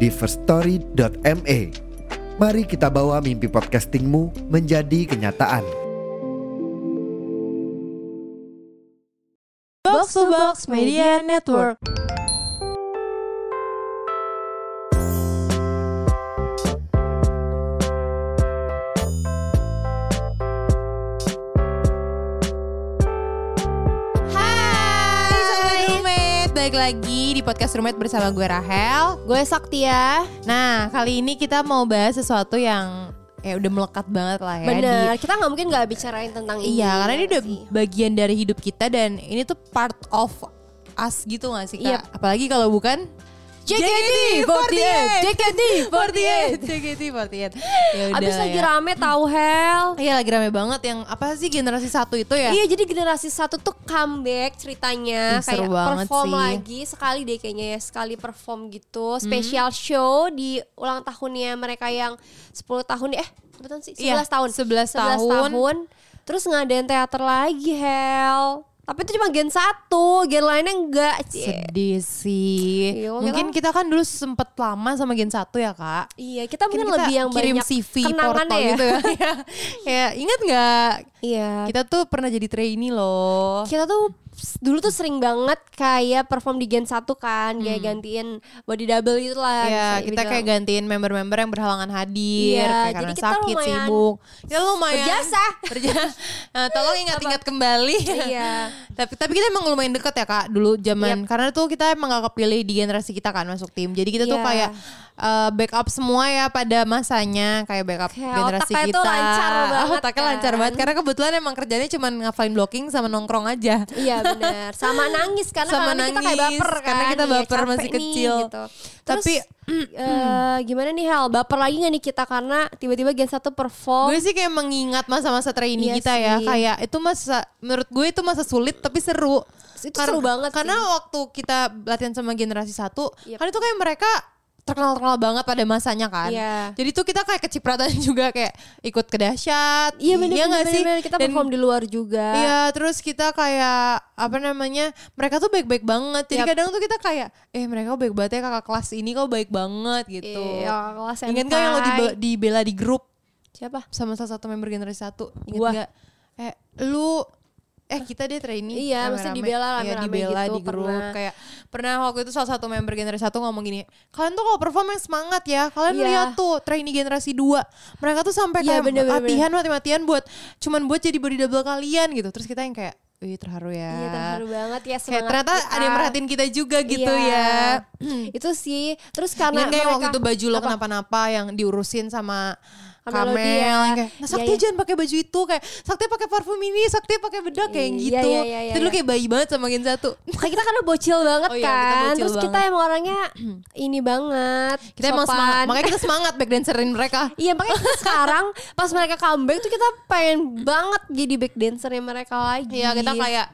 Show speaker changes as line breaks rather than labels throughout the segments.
di firststory.me. Mari kita bawa mimpi podcastingmu menjadi kenyataan.
Box to Box Media Network.
Hai
Sobat
Roommate, balik lagi di podcast Roommate bersama gue Rahel
Gue Saktia.
Nah kali ini kita mau bahas sesuatu yang ya udah melekat banget lah ya
Bener,
di-
kita nggak mungkin nggak bicarain tentang ini.
Iya karena ini udah
sih.
bagian dari hidup kita dan ini tuh part of us gitu gak sih kak?
Yep.
Apalagi kalau bukan
JKT48, JKT48.
JKT48 Ya udah
Abis lagi
ya.
rame tahu Hel.
Iya lagi rame banget yang apa sih generasi satu itu ya?
Iya jadi generasi satu tuh comeback
Ih,
ceritanya
seru
kayak
banget
perform
sih. Hmm.
lagi sekali deh kayaknya ya sekali perform gitu special show di ulang tahunnya mereka yang 10 tahun eh betul sih 11
Iya,
tahun
11 tahun.
terus ngadain teater lagi Hel tapi itu cuma gen satu gen lainnya enggak
Iya.
cie.
Sedih sih.
Iya,
Mungkin kita kan dulu sempet lama sama Gen 1 ya kak.
Iya kita
Mungkin
mungkin
kita
lebih yang
kirim
banyak
CV
kenangannya
portal
ya.
gitu ya. ya ingat nggak
Iya
kita tuh pernah jadi trainee loh.
kita tuh s- dulu tuh sering banget kayak perform di Gen 1 kan kayak gantiin body double gitu
Ya
lah bisa
Hmm. kita
dibilang.
kayak gantiin member-member yang berhalangan hadir
Iya,
kayak
jadi
karena
kita
sakit
lumayan
sibuk. Kita lumayan
berjasa.
Berjasa. Nah, tolong ingat-ingat kembali.
Iya.
tapi tapi kita emang lumayan dekat ya kak dulu zaman
Yap.
karena tuh kita emang gak kepilih di generasi kita kan masuk tim. Jadi kita tuh
Iya.
kayak eh, backup semua ya pada masanya kayak backup
Kayak
generasi
otaknya
kita.
tuh lancar banget
otaknya
kan.
lancar banget karena kebetulan emang kerjanya cuman ngafalin blocking sama nongkrong aja.
iya benar sama nangis karena
Sama
karena kita kayak
nangis,
baper kan
karena kita
Iya,
baper
capek
masih
nih,
kecil.
gitu. Terus,
Tapi,
eh, gimana nih Hel baper lagi gak nih kita karena tiba-tiba Gen 1 perform
Gue sih kayak mengingat masa-masa trainee
Oh. Iya
kita ya,
sih.
kayak itu masa menurut gue itu masa sulit tapi seru.
Itu seru banget
Karena
sih. Iya.
waktu kita latihan sama generasi satu,
Yep.
kan itu kayak mereka terkenal-terkenal banget pada masanya kan.
Iya.
Jadi tuh kita kayak kecipratan juga kayak ikut ke dahsyat.
iya benar
nggak sih?
kita
Dan-
perform di luar juga
Iya, terus kita kayak apa namanya? Mereka tuh baik-baik banget. Jadi
Yap.
kadang tuh kita kayak, eh mereka baik banget ya kakak kelas ini kok baik banget gitu.
Iya, kakak kelas
Ingat nggak yang lo
senpai.
dibe- dibela di grup?
siapa
sama salah satu member generasi satu inget
Gua.
nggak eh lu eh kita deh trainee
Iya,
rame-rame.
mesti dibela
Iya,
rame-rame
dibela
gitu,
di grup
pernah.
kayak pernah waktu itu salah satu member generasi satu ngomong gini kalian tuh kalau perform yang semangat ya kalian
Iya.
lihat tuh trainee generasi dua mereka tuh sampai
Iya,
kayak
bener, bener,
latihan mati-matian buat cuman buat jadi body double kalian gitu terus kita yang kayak Wih terharu ya.
Iya terharu banget ya
Kayak
semangat
ternyata
kita.
ada yang merhatiin kita juga gitu
Iya.
ya.
itu sih terus karena
Ingat kayak
mereka-
waktu itu baju lo
Apa?
kenapa-napa yang diurusin sama
Sama
Kamel
Melodia.
yang kayak, nah
Iya,
Sakti
iya.
jangan pakai baju itu kayak Sakti pakai parfum ini, Sakti pakai bedak kayak
Iya,
gitu.
iya, iya, iya,
Itu dulu
iya.
kayak bayi banget sama Gen 1.
Kayak kita karena bocil banget
Oh iya, kita
kan
bocil
Terus kita
banget.
emang orangnya ini banget
Kita emang
sopan.
semangat, makanya kita semangat back dancerin mereka.
Iya makanya kita sekarang pas mereka comeback tuh kita pengen banget jadi back dancernya mereka lagi
Iya, kita kayak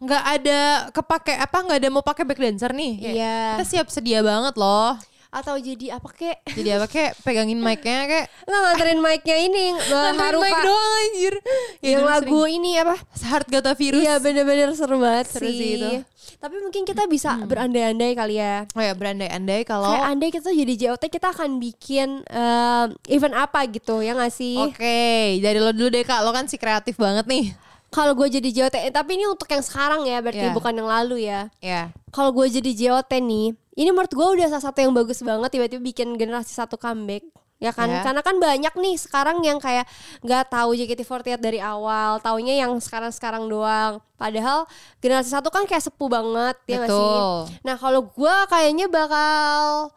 nggak ada kepake apa nggak ada mau pakai back dancer nih. Kayak,
Iya.
Kita siap sedia banget loh.
Atau jadi apa kek
Jadi apa kayak pegangin mic-nya kayak
Nggak nganterin mic-nya ini
nganterin
Nganterin
mic doang anjir. Ya,
Yang
dulu
lagu ini apa
sering. Heart Gata Virus.
Iya bener-bener seru banget
Seru
sih.
sih itu. Hmm.
Tapi mungkin kita bisa berandai-andai kali ya
Oh ya berandai-andai kalau
Kayak andai kita jadi JOT kita akan bikin eh, event apa gitu ya nggak sih?
Oke, dari lo dulu deh kak, lo kan si kreatif banget nih.
Kalau gue jadi JOT, eh, tapi ini untuk yang sekarang ya berarti
Iya.
bukan yang lalu ya.
Ya.
Kalau gue jadi JOT nih, ini menurut gue udah salah satu yang bagus banget tiba-tiba bikin generasi satu comeback. Ya kan,
Iya.
karena kan banyak nih sekarang yang kayak nggak tahu JKT48 dari awal, taunya yang sekarang-sekarang doang. Padahal generasi satu kan kayak sepuh banget ya nggak sih?
Betul.
Nah kalau gue kayaknya bakal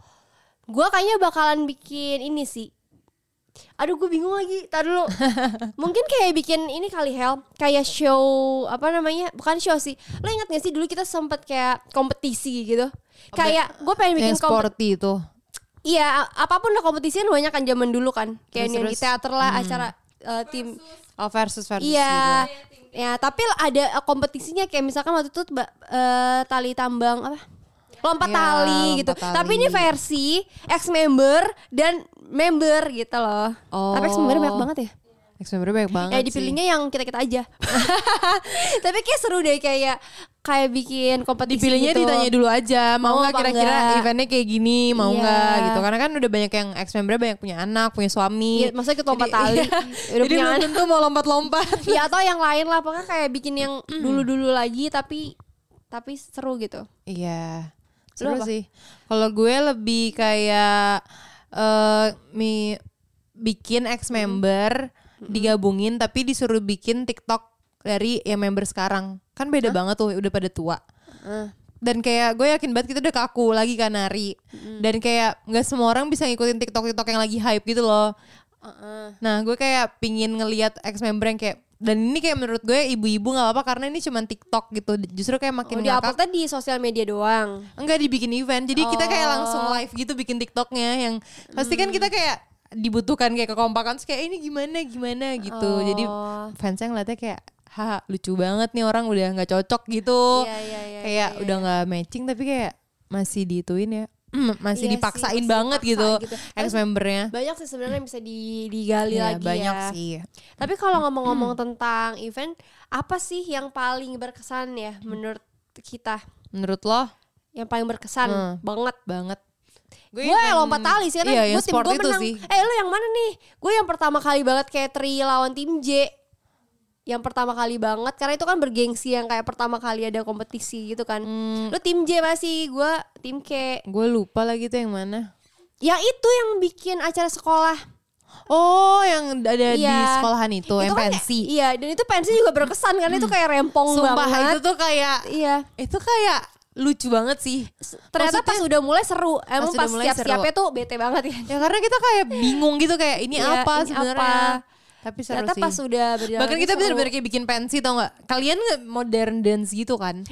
Gue kayaknya bakalan bikin ini sih Aduh gue bingung lagi Tar dulu Mungkin kayak bikin ini kali Hel Kayak show Apa namanya Bukan show sih Lo ingat gak sih
Oh,
dulu kita sempet kayak kompetisi gitu Kayak gue pengen
Yang
bikin kompetisi
sporty itu.
Iya, a- apapun lah kompetisinya banyak kan zaman dulu kan. Kayak
Terus,
yang
terus.
di
Hmm.
teater lah acara eh, tim.
Oh versus versus.
Iya. Ya, tapi ada eh, kompetisinya kayak misalkan waktu itu ba- eh, tali tambang apa? Lompat
Iya,
tali
lompat
gitu.
tali.
Tapi ini versi ex member dan member gitu loh.
Oh.
Tapi ex member banyak banget ya.
gitu. Ex membernya banyak banget.
Ya
sih.
dipilihnya yang kita-kita aja. tapi kayak seru deh kayak kayak bikin kompetisi
dipilihnya
gitu.
ditanya dulu aja mau
Mau
nggak
apa
kira-kira
enggak?
eventnya kayak gini mau
Iya.
nggak gitu karena kan udah banyak yang ex membernya banyak punya anak punya suami
Iya, maksudnya ikut lompat tali. Udah
Iya. jadi
punya
belum
anak.
tentu mau lompat-lompat
ya atau yang lain lah pokoknya kayak bikin yang dulu-dulu lagi tapi tapi seru gitu
Iya,
Lu
seru
apa?
sih. Kalau gue lebih kayak eh mi bikin ex member digabungin tapi disuruh bikin TikTok dari yang member sekarang. Kan beda banget tuh udah pada tua. Dan kayak gue yakin banget kita udah kaku lagi kan nari. Dan kayak nggak semua orang bisa ngikutin TikTok-TikTok yang lagi hype gitu loh. Nah gue kayak pingin ngelihat ex member yang kayak dan ini kayak menurut gue ibu-ibu nggak apa-apa karena ini cuma TikTok gitu justru kayak makin
oh, di
ngakak
upload tadi di sosial media doang
Enggak dibikin event. Jadi kita
Oh.
kayak langsung live gitu bikin TikToknya yang pasti kan kita kayak dibutuhkan kayak kekompakan terus kayak "Eh, ini gimana gimana gitu.
Oh.
Jadi fansnya ngeliatnya kayak haha lucu banget nih orang udah nggak cocok gitu.
Iya, iya, iya,
kayak udah nggak matching tapi kayak masih diituin ya. Hmm, masih
Iya sih,
dipaksain
masih
banget
dipaksa
gitu,
gitu.
ex membernya.
banyak sih sebenarnya yang bisa di- digali
Iya,
lagi
banyak
ya.
sih.
tapi kalau ngomong-ngomong tentang event apa sih yang paling berkesan ya menurut kita
Menurut lo
yang paling berkesan
Hmm.
banget
banget.
gue lompat tali sih karena
Iya, yang
gue tim
sport
gue
itu
menang
sih.
eh lu yang mana nih gue yang pertama kali banget kayak tri lawan tim J yang pertama kali banget karena itu kan bergengsi yang kayak pertama kali ada kompetisi gitu kan
Hmm.
lu tim J masih gue tim K
Gue lupa lagi tuh yang mana.
yang itu yang bikin acara sekolah
Oh, yang ada di
Iya.
sekolahan itu,
kan kayak-
MPNC. Hmm.
iya dan itu pensi juga berkesan karena itu kayak rempong
Sumpah
banget
itu tuh kayak
iya
itu kayak lucu banget sih.
S- ternyata
Maksudnya-
pas udah mulai seru emang
udah
pas,
mulai
siap-siapnya tuh bete banget ya
Ya karena kita kayak bingung gitu kayak ini
Iya,
apa
ini
sebenarnya.
apa?
Tapi seru
ternyata
sih.
pas udah gitu berjalan
Bahkan kita
seru.
bener-bener kayak bikin pensi tau gak? Kalian nggak modern dance gitu kan?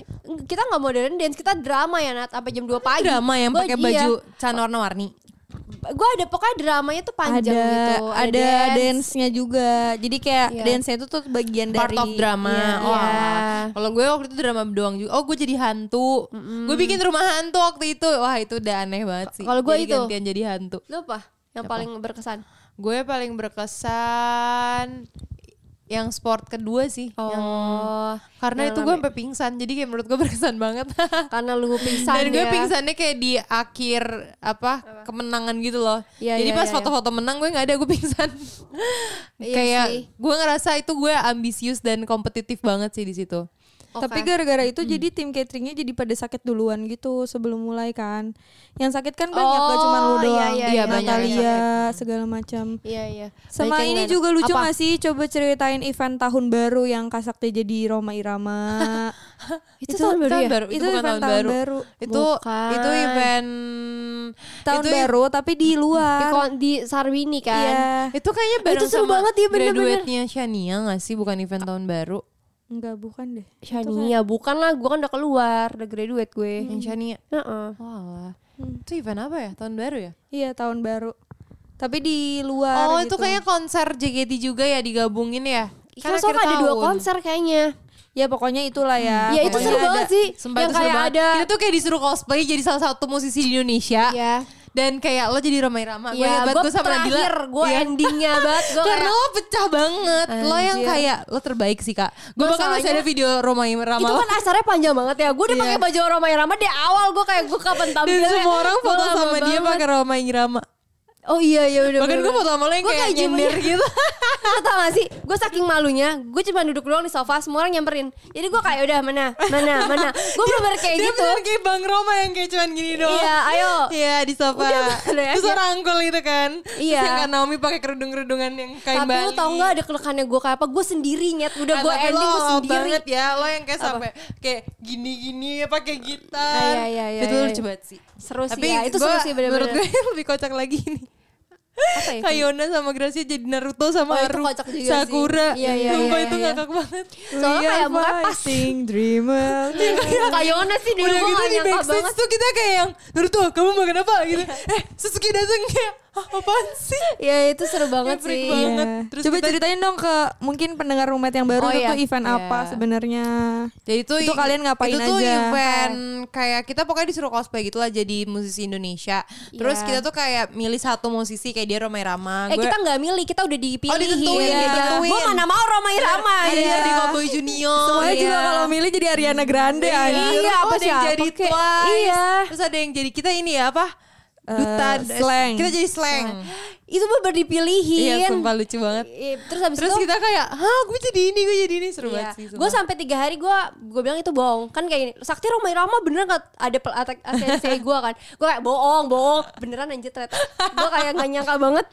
kita nggak modern dance kita drama ya Nat sampai jam 2 pagi
Drama yang
Gua-
pakai
iya.
baju can warna-warni.
gue ada pokoknya dramanya tuh panjang
ada,
gitu
ada dance-nya juga. Jadi kayak
Iya.
dance-nya itu tuh bagian
Part
dari
of drama.
Iya.
Oh.
Iya.
Kalau gue waktu itu drama doang juga. Oh, gue jadi hantu. Gue bikin rumah hantu waktu itu. Wah, itu udah aneh banget sih.
Kalau gue
Jadi
itu.
gantian jadi hantu.
lu apa yang paling berkesan
Gue paling berkesan yang sport kedua sih, yang
oh
Karena itu
Yang
gue sampai pingsan, jadi kayak menurut gue berkesan banget.
karena lu pingsan
Dan gue
ya.
pingsannya kayak di akhir apa, kemenangan gitu loh.
Iya,
jadi
iya,
pas
iya,
foto-foto menang gue nggak ada gue pingsan.
Iya
kayak
sih.
gue ngerasa itu gue ambisius dan kompetitif banget sih di situ.
Oke.
Tapi gara-gara itu jadi tim cateringnya jadi pada sakit duluan gitu sebelum mulai kan. Yang sakit kan banyak gak cuma lu
Oh,
doang.
iya, iya,
iya, banyak yang
Natalia segala macam.
iya iya
Sama
Banyak yang
ini
enak.
juga lucu
Apa?
gak sih coba ceritain event tahun baru yang Kasakti jadi Roma Irama.
Itu tahun baru ya?
Itu, event tahun, baru.
Itu
Bukan.
itu event
Tahun
itu,
baru tapi di
di,
luar.
kon- di Sarwini kan
Iya.
Itu kayaknya bareng
Itu seru
sama
banget, iya, bener-bener. Ah.
graduate-nya Shania gak sih bukan event tahun baru?
Enggak bukan deh.
Shania bukan lah gue kan udah keluar udah graduate gue
Yang Shania.
Heeh.
Wah.
Hmm.
Itu event apa ya? Tahun baru ya?
Iya tahun baru. Tapi di luar
Oh itu
gitu.
kayaknya konser JKT juga ya digabungin ya?
Kan
akhir
ada dua
tahun.
konser kayaknya.
Ya pokoknya itulah ya.
ya itu
Pokoknya
seru
ada-
banget sih.
Sumpah
yang
itu seru
kayak
banget.
ada
Kita tuh kayak disuruh cosplay jadi salah satu musisi di Indonesia
Iya.
Dan kayak lo jadi Roma Irama Gue
Ya,
ingat banget
gua
gue sama Nadila
terakhir gue
Iya.
endingnya banget gue
Karena lo pecah banget Lo yang
Anjir.
kayak Lo terbaik sih kak Gue bahkan masih
Masalahnya-
ada video Roma Irama
itu
lo.
kan acaranya panjang banget ya gue udah
Iya.
pakai baju Roma Irama di awal gue kayak gue kapan tampil
Dan semua orang foto sama dia pakai Roma Irama
oh iya iya udah
Bahkan gue foto sama lo yang
Gua
kayak
kayak gimana?
nyender gitu
lo tau gak sih gue saking malunya gue cuma duduk doang di sofa semua orang nyamperin jadi gue kayak udah mana mana mana gue bener kayak
Dia
gitu
bener kayak Bang Roma yang kayak cuman gini doang
iya ayo
Iya di sofa
udah
Terus
aja.
orang angkul gitu kan
Iya.
Terus yang Kak Naomi pakai kerudung-kerudungan yang kain
tapi
Bali
lo tau gak ada kelekannya gue kayak apa gue sendiri nyet udah
Ah,
gue
tapi
ending
lo
gue
all out
sendiri
banget ya Lo yang kayak sampai Kayak gini-gini ya pakai gitar
Ah, iya, iya, iya,
Itu
iya.
lucu banget sih
seru sih
Tapi
ya itu seru
gua-
sih
Menurut
bener-bener
gue lebih kocak lagi nih
Apa ya?
Kayona sama Gracia jadi Naruto sama
Oh, itu
Haru,
kocak juga sih.
Sakura.
Iya, iya,
Sumpah
iya,
itu
iya.
ngakak banget.
Soalnya
We are
kayak bukan pas.
fighting dreamer.
Kayona sih dulu
Iya. Udah
gue
gitu
gak
di
nyangka
backstage
banget. Iya.
tuh kita kayak yang Naruto kamu makan apa gitu. Eh Sasuke datang kayak "Hah, apaan sih?
Ya itu seru banget
freak
sih.
banget.
Iya.
Terus
Coba
kita-
ceritain dong ke mungkin pendengar rumet yang
Oh,
baru itu
iya.
event
Iya.
apa sebenarnya. Oh,
Jadi tuh
Itu kalian ngapain
Ya, itu tuh
aja?
event kayak kita pokoknya disuruh cosplay gitu lah jadi musisi Indonesia. Terus
Iya.
kita tuh kayak milih satu musisi kayak dia Romai Rama. Oh,
Eh kita gak milih, kita udah dipilih.
ditentuin, ditentuin. Iya,
Gue mana mau Roma Irama.
ada
gitu.
yang jadi Cowboy Junior.
Semuanya
iya.
juga kalau milih jadi Ariana Grande anjir.
Iya,
Terus
apa
ada yang
siapa
jadi
kek?
Twice.
Iya.
Terus ada yang jadi kita ini ya apa?
Eh,
Duta
slang.
Kita jadi slang.
Itu mah baru dipilihin.
Iya, sumpah lucu banget.
Eh, Terus Iya. habis
Terus
itu
kita kayak, "Hah, gue jadi ini, gue jadi ini." Seru banget sih.
Gue sampai tiga hari gue gue bilang itu bohong kan kayak ini sakti Roma Irama bener gak ada pel- atak saya gue kan gue kayak bohong bohong beneran anjir ternyata gue kayak gak nyangka banget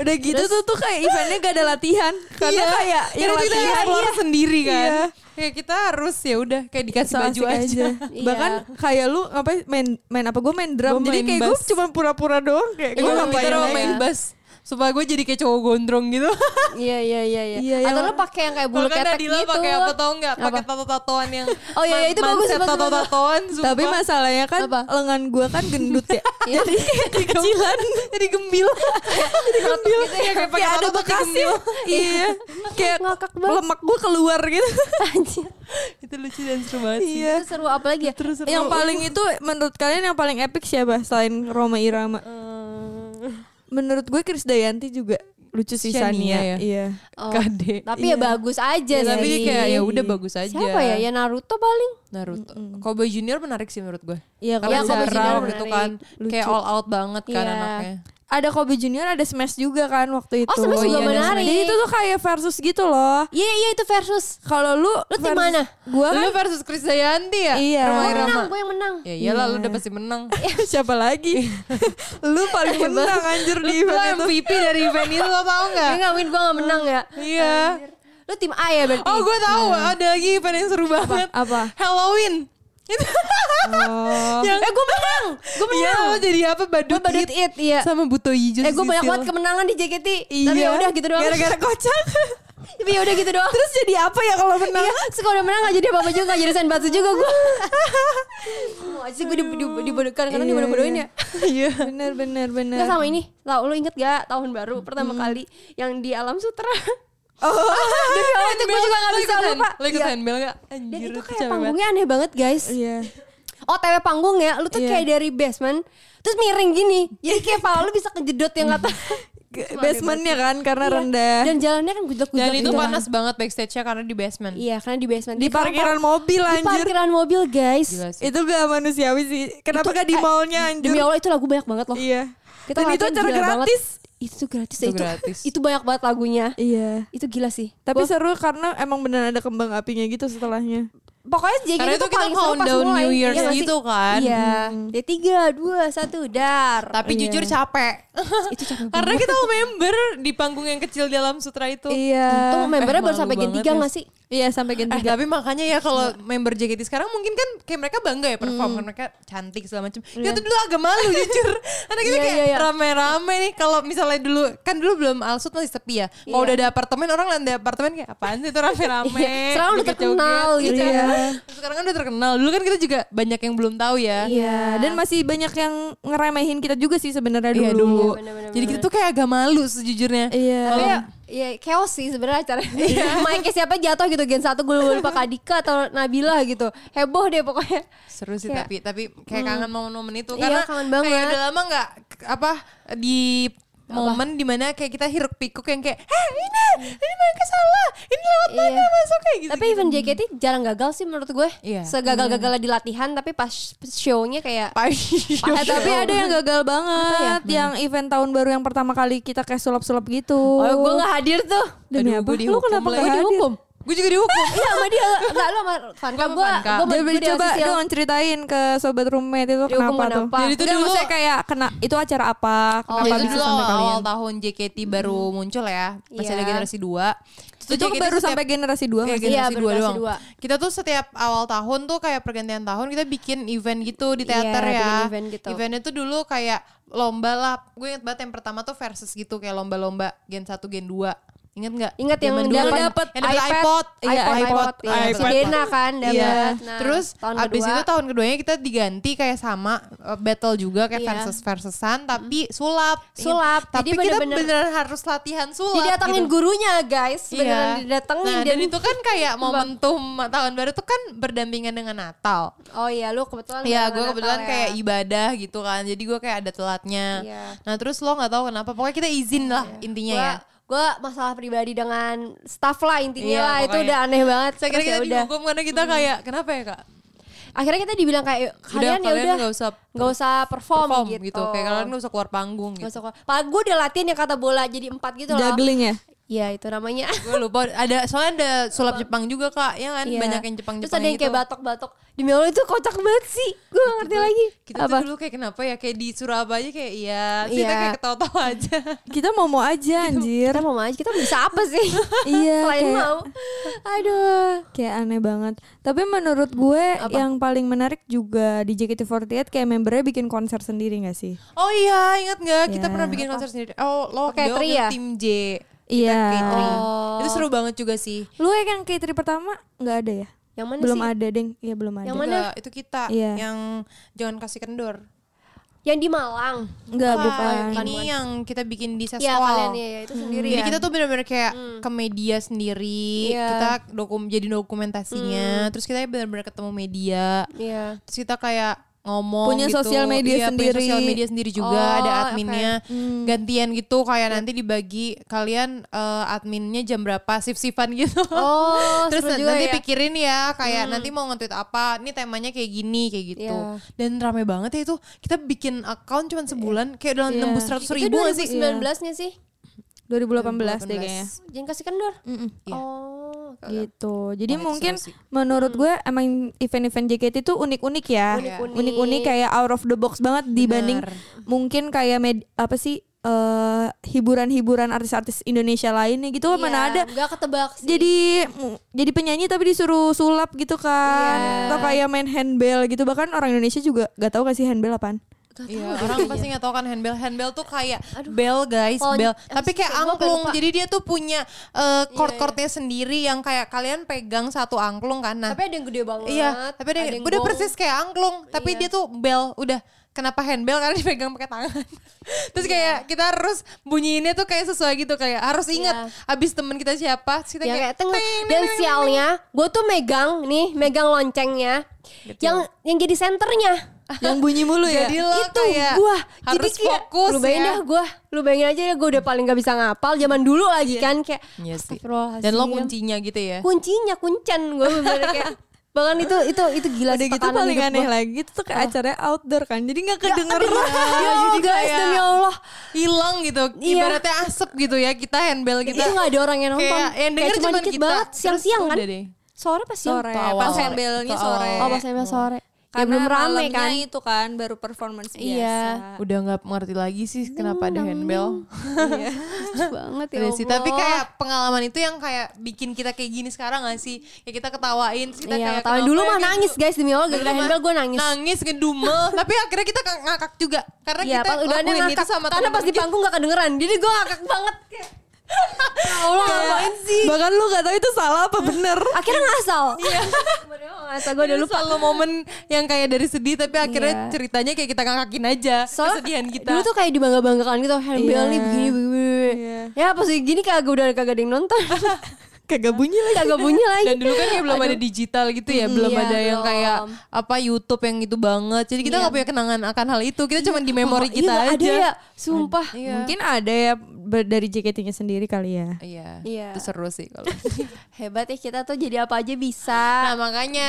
Udah gitu tuh tuh kayak eventnya gak ada latihan
Iya,
karena kayak yang
Karena kita
latihan
explore sendiri kan.
Iya.
Kayak kita harus ya udah kayak dikasih
So
baju
asik
aja.
Iya.
Bahkan kayak lu ngapain main main apa gue main drum.
Gua
Jadi
main
kayak gue
bass. Iya.
cuma pura-pura doang kayak gitu.
gue
gua
gak
ngapain
pinter
bayang
sama main
ya.
bass. Supaya gue jadi kayak cowok gondrong gitu.
iya iya iya
Iya,
iya
iya.
atau lo pakai yang kayak bulu
Bahkan
ketek
kan Nadila
gitu
pakai apa tau nggak?
Apa?
Pakai tato-tatoan yang
Oh iya, iya, itu bagus, bagus, bagus.
tato-tatoan.
Tapi
sumpah.
masalahnya kan
Apa?
lengan gue kan gendut ya.
jadi
Kecilan.
jadi gembil. jadi gembil. Gitu ya, Kayak kayak pakai
kayak
tato
ada
tuh jadi
bekasnya.
gitu.
gembil.
iya. Kayak
Ngakak banget.
lemak gue keluar gitu.
anjir
Itu lucu dan seru banget sih.
iya.
itu seru apa lagi ya terus
Yang paling itu menurut kalian yang paling epic siapa selain Roma Irama? Menurut gue Krisdayanti juga lucu sih
Shania ya?
Shania. Iya.
Kade.
tapi ya bagus aja
Ya,
sih
tapi kayak ya udah bagus aja.
siapa ya ya Naruto paling
Naruto. Cowboy Junior menarik sih menurut gue.
Iya,
Karena
Cowboy
Cowboy
Junior
Junior gitu kan.
menarik.
Kayak
Lucu.
all out banget kan
Iya.
anaknya.
Ada Kobe Junior, ada Smash juga kan waktu itu.
Oh, Smash
juga
menarik.
Jadi itu tuh kayak versus gitu loh.
iya iya itu versus
Kalau lu
Lu tim
versus-
mana?
Gua
Lu
kan
versus Chris Dayanti ya?
Iya.
Roma
Gua
Irama.
menang gue yang menang
Ya iyalah lu udah
Iya.
pasti menang.
siapa lagi? lu paling menang anjir di
Iya,
Lu
event itu.
MVP dari event itu lo tau
gue
gak?
Iya nggak win gue nggak menang ya
Iya.
lo tim A ya berarti
Oh gue tahu ada lagi event yang seru banget.
Apa?
Halloween. Itu.
Oh.
yang,
eh gue menang gue menang
Iya lo jadi apa?
gue
Badut,
badut
It.
it iya
Sama Buto Ijo.
eh gue banyak banget kemenangan di JKT tapi ya udah gitu doang
Gara-gara kocak.
tapi ya udah gitu doang
Terus jadi apa ya kalau menang?
Iya, terus kalau udah menang gak jadi apa-apa juga, gak jadi senbatsu juga gue. Mau aja sih gue dibodohin, kadang-kadang dibodoh-bodohin ya.
Iya. Bener bener bener.
Enggak sama ini, tau lu inget gak tahun baru pertama kali yang di alam sutra.
Oh.
Demi Allah itu gue juga gak bisa lupa.
Lo ikut
Iya.
handbell gak?
Dan
Anjir
itu
itu
kayak
capek banget.
panggungnya aneh banget guys.
Iya.
Oh tewe panggung ya, lu tuh
Iya.
kayak dari basement, terus miring gini. Jadi kayak pala lu bisa kejedot yang kata.
Ke- Basementnya kan karena rendah.
Dan jalannya kan
Dan
gudeg-gudeg
itu
gitu kan.
panas banget backstage-nya karena di basement.
Iya karena di basement.
di
Di
parkiran mobil
Di
anjir.
parkiran mobil guys.
Gila sih.
Itu gak manusiawi sih. Kenapa gak di
eh,
mallnya anjir?
Demi Allah itu lagu banyak banget loh.
Iya.
Kita
Dan itu
latihan
acara
gila
gratis.
Banget. Itu tuh gratis ya,
Itu
itu. Itu,
gratis.
itu banyak banget lagunya.
Iya.
Itu gila sih.
Tapi
Gua-
seru karena emang beneran ada kembang apinya gitu setelahnya.
pokoknya jadi
Karena itu kita countdown New Year's gitu kan.
Iya. Ya tiga, dua, satu, dar. Iya. Eh,
Tapi jujur capek.
itu capek banget.
Karena kita member di panggung yang kecil di alam sutra itu.
Iya.
Untung membernya
Eh,
baru
malu
sampai gen
banget
tiga
ya.
nggak sih?
Iya sampai gen
Eh, tapi makanya ya kalau member JKT sekarang mungkin kan kayak mereka bangga ya perform
Hmm.
kan mereka cantik segala macam. Kita tuh dulu agak malu jujur. Karena kita
Iya,
kayak
iya, iya.
rame-rame nih kalau misalnya dulu kan dulu belum Alsut masih sepi ya. Kalau
Iya.
udah ada apartemen orang lihat ada apartemen kayak apaan sih itu rame-rame.
Iya, sekarang udah
joget-joget,
terkenal gitu
kan.
ya.
Sekarang kan udah terkenal. Dulu kan kita juga banyak yang belum tahu ya.
Iya, dan masih banyak yang ngeremehin kita juga sih sebenarnya dulu.
Iya, dulu.
Iya, bener-bener,
Jadi kita tuh kayak agak malu sejujurnya.
Iya.
Tapi ya, ya chaos sih sebenarnya acara. Iya. Main kayak siapa jatuh gitu gen satu gue lupa Kadika atau Nabila gitu. Heboh deh pokoknya.
seru sih
Kayak-
tapi tapi
Hmm.
kayak kangen momen-momen itu
Iya,
karena
kangen banget.
kayak udah lama nggak k- apa di momen dimana kayak kita hiruk pikuk yang kayak eh ini ini mereka salah ini lewat
Iya.
mana masuk kayak gitu
Tapi event JKT jarang gagal sih menurut gue.
Iya.
Segagal-gagalnya di latihan tapi pas show-nya kayak
Eh, tapi
Iya,
ada yang gagal banget, yang event tahun baru yang pertama kali kita kayak sulap-sulap gitu.
Oh, gue gak hadir tuh.
Demi apa? Lu kenapa
Gue
nggak hadir?
dihukum.
gue juga dihukum
Iya sama dia, enggak lu sama Fanka.
Gua sama
Gue
Vanka.
gue
Jadi coba
ya.
dong ceritain ke sobat roommate itu
Dihukum
kenapa, tuh.
kenapa?
Jadi itu
Enggak,
dulu-
maksudnya kayak kena itu acara apa?
Oh,
Kenapa
itu
bisa
dulu
sampai
awal
kalian? Hmm.
tahun JKT baru muncul ya masih ada
Iya.
generasi 2
Itu
JKT
baru
setiap-
sampai generasi
Iya,
2 masih.
generasi
Iya,
dua
generasi
doang.
dua.
Kita tuh setiap awal tahun tuh kayak pergantian tahun kita bikin event gitu di teater
Iya,
ya.
bikin event gitu.
Eventnya tuh dulu kayak lomba lah. Gue inget banget yang pertama tuh versus gitu kayak lomba-lomba gen 1 gen 2. Ingat nggak?
Ingat yang
Zaman kan
dapat-
yang dapat
iPad.
iPod,
Iya,
iPod,
iPod,
iPod, ya.
iPod.
Sedena kan dapat.
Iya.
Nah,
Terus
tahun
abis
kedua,
itu tahun keduanya kita diganti kayak sama uh, battle juga kayak
Iya.
versus versusan tapi sulap.
Sulap.
Tapi
Jadi
kita
bener-bener-
beneran harus latihan sulap.
didatengin
gitu. Iya.
gurunya guys, beneran didatengin
Nah, dan itu kan kayak momentum tahun baru tuh kan berdampingan dengan Natal.
Oh iya, lu kebetulan
Iya,
barengan
gue
Natal
kebetulan
ya.
kayak ibadah gitu kan. Jadi gue kayak ada telatnya.
Iya.
Nah, terus lo nggak tahu kenapa. Pokoknya kita izin lah intinya
Gua-
ya.
gua masalah pribadi dengan staff lah intinya
Iya,
lah itu
pokoknya.
udah aneh banget.
Saya kira
Terus
kita
ya udah.
dihukum karena kita kayak kenapa ya kak?
Akhirnya kita dibilang kayak kalian ya
kalian
udah
nggak usah
nggak usah perform,
perform
gitu.
gitu. Kayak kalian nggak usah keluar panggung
Nggak
gitu.
usah keluar. Padahal gue udah latihan yang kata bola jadi empat gitu loh.
Juggling ya.
Iya itu namanya.
Gue lupa ada soalnya ada sulap Jepang juga kak, ya kan?
Iya.
Banyak yang Jepang Jepang gitu.
Terus ada yang kayak batok-batok. Demi Allah itu kocak banget sih. Gue gak ngerti lagi.
Kita tuh dulu kayak kenapa ya kayak di Surabaya kayak iya, terus kita
Iya.
kayak ketawa-tawa aja.
Kita mau mau aja anjir.
Kita mau aja, kita bisa apa sih?
Iya,
Selain
kayak-
mau. Aduh.
Kayak aneh banget. Tapi menurut gue yang paling menarik juga di JKT48 kayak membernya bikin konser sendiri gak sih?
Oh iya, ingat nggak? Kita
Iya.
pernah bikin konser sendiri. Oh, lo
Pakai
dia
tri
waktu
ya?
tim J.
Iya.
Tri.
Oh.
Itu seru banget juga sih.
Lu yang K3 pertama nggak ada ya?
Yang mana
belum
sih?
ada, Deng. Iya, belum ada.
Yang mana?
Juga itu kita
Iya.
yang jangan kasih kendor.
Yang di Malang.
Enggak,
Wah,
bukan.
Ini yang kita bikin di
Iya
Seskual.
kalian ya, ya, itu sendiri
Jadi
ya.
kita tuh benar-benar kayak ke media sendiri,
Iya. Hmm.
kita dokum jadi dokumentasinya, terus kita benar-benar ketemu media,
Iya.
terus kita kayak ngomong
Punya
gitu.
sosial media
Iya,
sendiri.
punya sosial media sendiri juga
Oh,
ada adminnya gantian gitu kayak nanti dibagi kalian eh, adminnya jam berapa sif-sifan gitu
Oh,
terus
seru
na-
juga
nanti
ya.
pikirin ya kayak nanti mau nge-tweet apa ini temanya kayak gini kayak gitu
Iya.
dan rame banget ya itu kita bikin account cuman sebulan kayak udah
Iya.
nembus seratus
Itu
ribu gak sih
2019 nya sih?
2018 deh kayaknya.
Jangan kasih kendor.
Mm-mm.
Iya.
Oh. oke, oke.
gitu. Jadi
Wah, itu
mungkin
seru sih.
menurut gue emang event-event JKT itu unik-unik ya.
Unik-unik.
Unik-unik kayak out of the box banget dibanding mungkin kayak med- apa sih eh, hiburan-hiburan artis-artis Indonesia lainnya gitu
Iya,
mana ada
nggak ketebak sih.
jadi mu- jadi penyanyi tapi disuruh sulap gitu kan
Iya.
atau kayak main handbell gitu bahkan orang Indonesia juga gak tahu kasih handbell apaan
Iya, orang pasti nggak tahu kan handbell. Handbell tuh kayak bell guys,
Oh,
bell.
apa
Tapi
sih?
kayak
Gua Iya, kayak
angklung.
lupa.
Jadi dia tuh punya chord-chordnya sendiri yang kayak kalian pegang satu angklung kan. Nah,
Tapi ada yang gede banget.
iya, tapi dia, udah
bong.
persis kayak angklung,
Iya.
tapi dia tuh bell. Udah kenapa handbell karena dipegang pakai tangan. Terus
Iya.
kayak kita harus bunyiinnya tuh kayak sesuai gitu kayak harus ingat abis temen kita siapa, terus kita
yang Iya. Ya, kayak
kayak
tengah
teng,
dan
teng, teng.
sialnya gue tuh megang nih megang loncengnya yang yang jadi senternya
yang bunyi mulu ya
Jadi lo
Iya, itu
kayak
gua jadi
harus
kayak
fokus
lu bayangin
ya.
dah gue lu bayangin aja gue udah paling gak bisa ngapal zaman dulu lagi kan kayak
Iya sih.
Astagfirullahaladzim.
Dan lo kuncinya gitu ya.
kuncinya kuncen gue bener kayak bahkan itu itu itu gila
udah
sih
gitu
tekanan
paling
hidup gua.
aneh
Oh. Iya,
lagi itu tuh kayak acaranya outdoor kan jadi nggak kedengeran
ya
jadi
Allah guys
kayak-
demi Allah
hilang gitu
Iya.
ibaratnya asap gitu ya kita handbell
itu
kita
nggak ada orang yang nonton
Kayak yang denger
cuma
cuman
dikit
kita.
banget
Terus
siang-siang kan
udah deh.
sore pas siang
sore
awal.
pas handbellnya
Atau
sore
oh pas sampai sore ya
karena
belum rame
malamnya
kan
itu kan baru performance biasa
Iya.
udah nggak ngerti lagi sih kenapa ada handbell
Lucu banget ya
Ada sih
Allah.
tapi kan kayak pengalaman itu yang kayak bikin kita kayak gini sekarang gak sih ya kita ketawain terus kita
Iya,
kayak
ketawain.
kenapa
dulu
ya
mah
kayak
nangis
gitu?
guys demi Allah gara-gara
Dulu mah
handbell gue nangis.
nangis ngedumel tapi akhirnya kita kag- ngakak juga karena
Iya,
kita
pas udah ada
ngelakuin
ngakak
itu sama
karena
temen
pas di
kita.
panggung gak kedengeran. Jadi gue ngakak banget. Kayak, Ya Allah, ngapain sih?
bahkan lu gak tahu itu salah apa bener
Akhirnya ngasal. Iya. ngasal gue udah
Itu
lupa.
selalu momen yang kayak dari sedih tapi akhirnya
Iya.
ceritanya kayak kita ngakakin aja kesedihan kita
dulu tuh kayak dibangga-banggakan gitu handbell nih
Iya.
begini begini.
Iya.
Ya pas kayak gini kagak udah kagak ada yang nonton.
kagak bunyi lagi
kagak bunyi lagi.
dan dulu kan kayak belum ada digital gitu ya belum
Iya,
ada yang
belum.
kayak apa YouTube yang itu banget jadi kita nggak punya kenangan akan hal itu kita cuma di memori
Oh,
kita
iya,
aja
Ada ya, sumpah.
iya
mungkin ada ya ber- dari JKT-nya sendiri kali ya
iya
Iya.
itu seru sih kalau
Hebat ya kita tuh jadi apa aja bisa.
nah makanya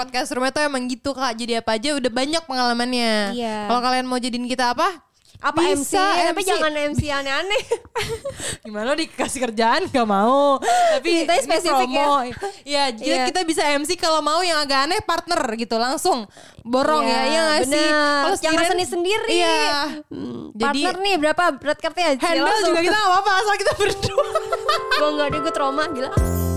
podcast rumah tuh emang gitu kak jadi apa aja udah banyak pengalamannya
Iya.
kalau kalian mau jadiin kita apa
Apa MC?
Bisa,
Tapi
MC.
jangan MC aneh-aneh.
Gimana lo dikasih kerjaan gak mau Tapi
Mintanya
ini
spesifik ya.
promo. Iya jadi
Iya.
kita bisa MC kalau mau yang agak aneh partner gitu Langsung borong
Iya,
ya Iya gak sih
benar.
Kalau
Jangan
sendirian-
sendiri-sendiri.
Iya Jadi gitu.
Partner nih berapa berat kartunya?
handle juga kita gak apa-apa Asal kita berdua
Gue nggak ada, gue trauma gila.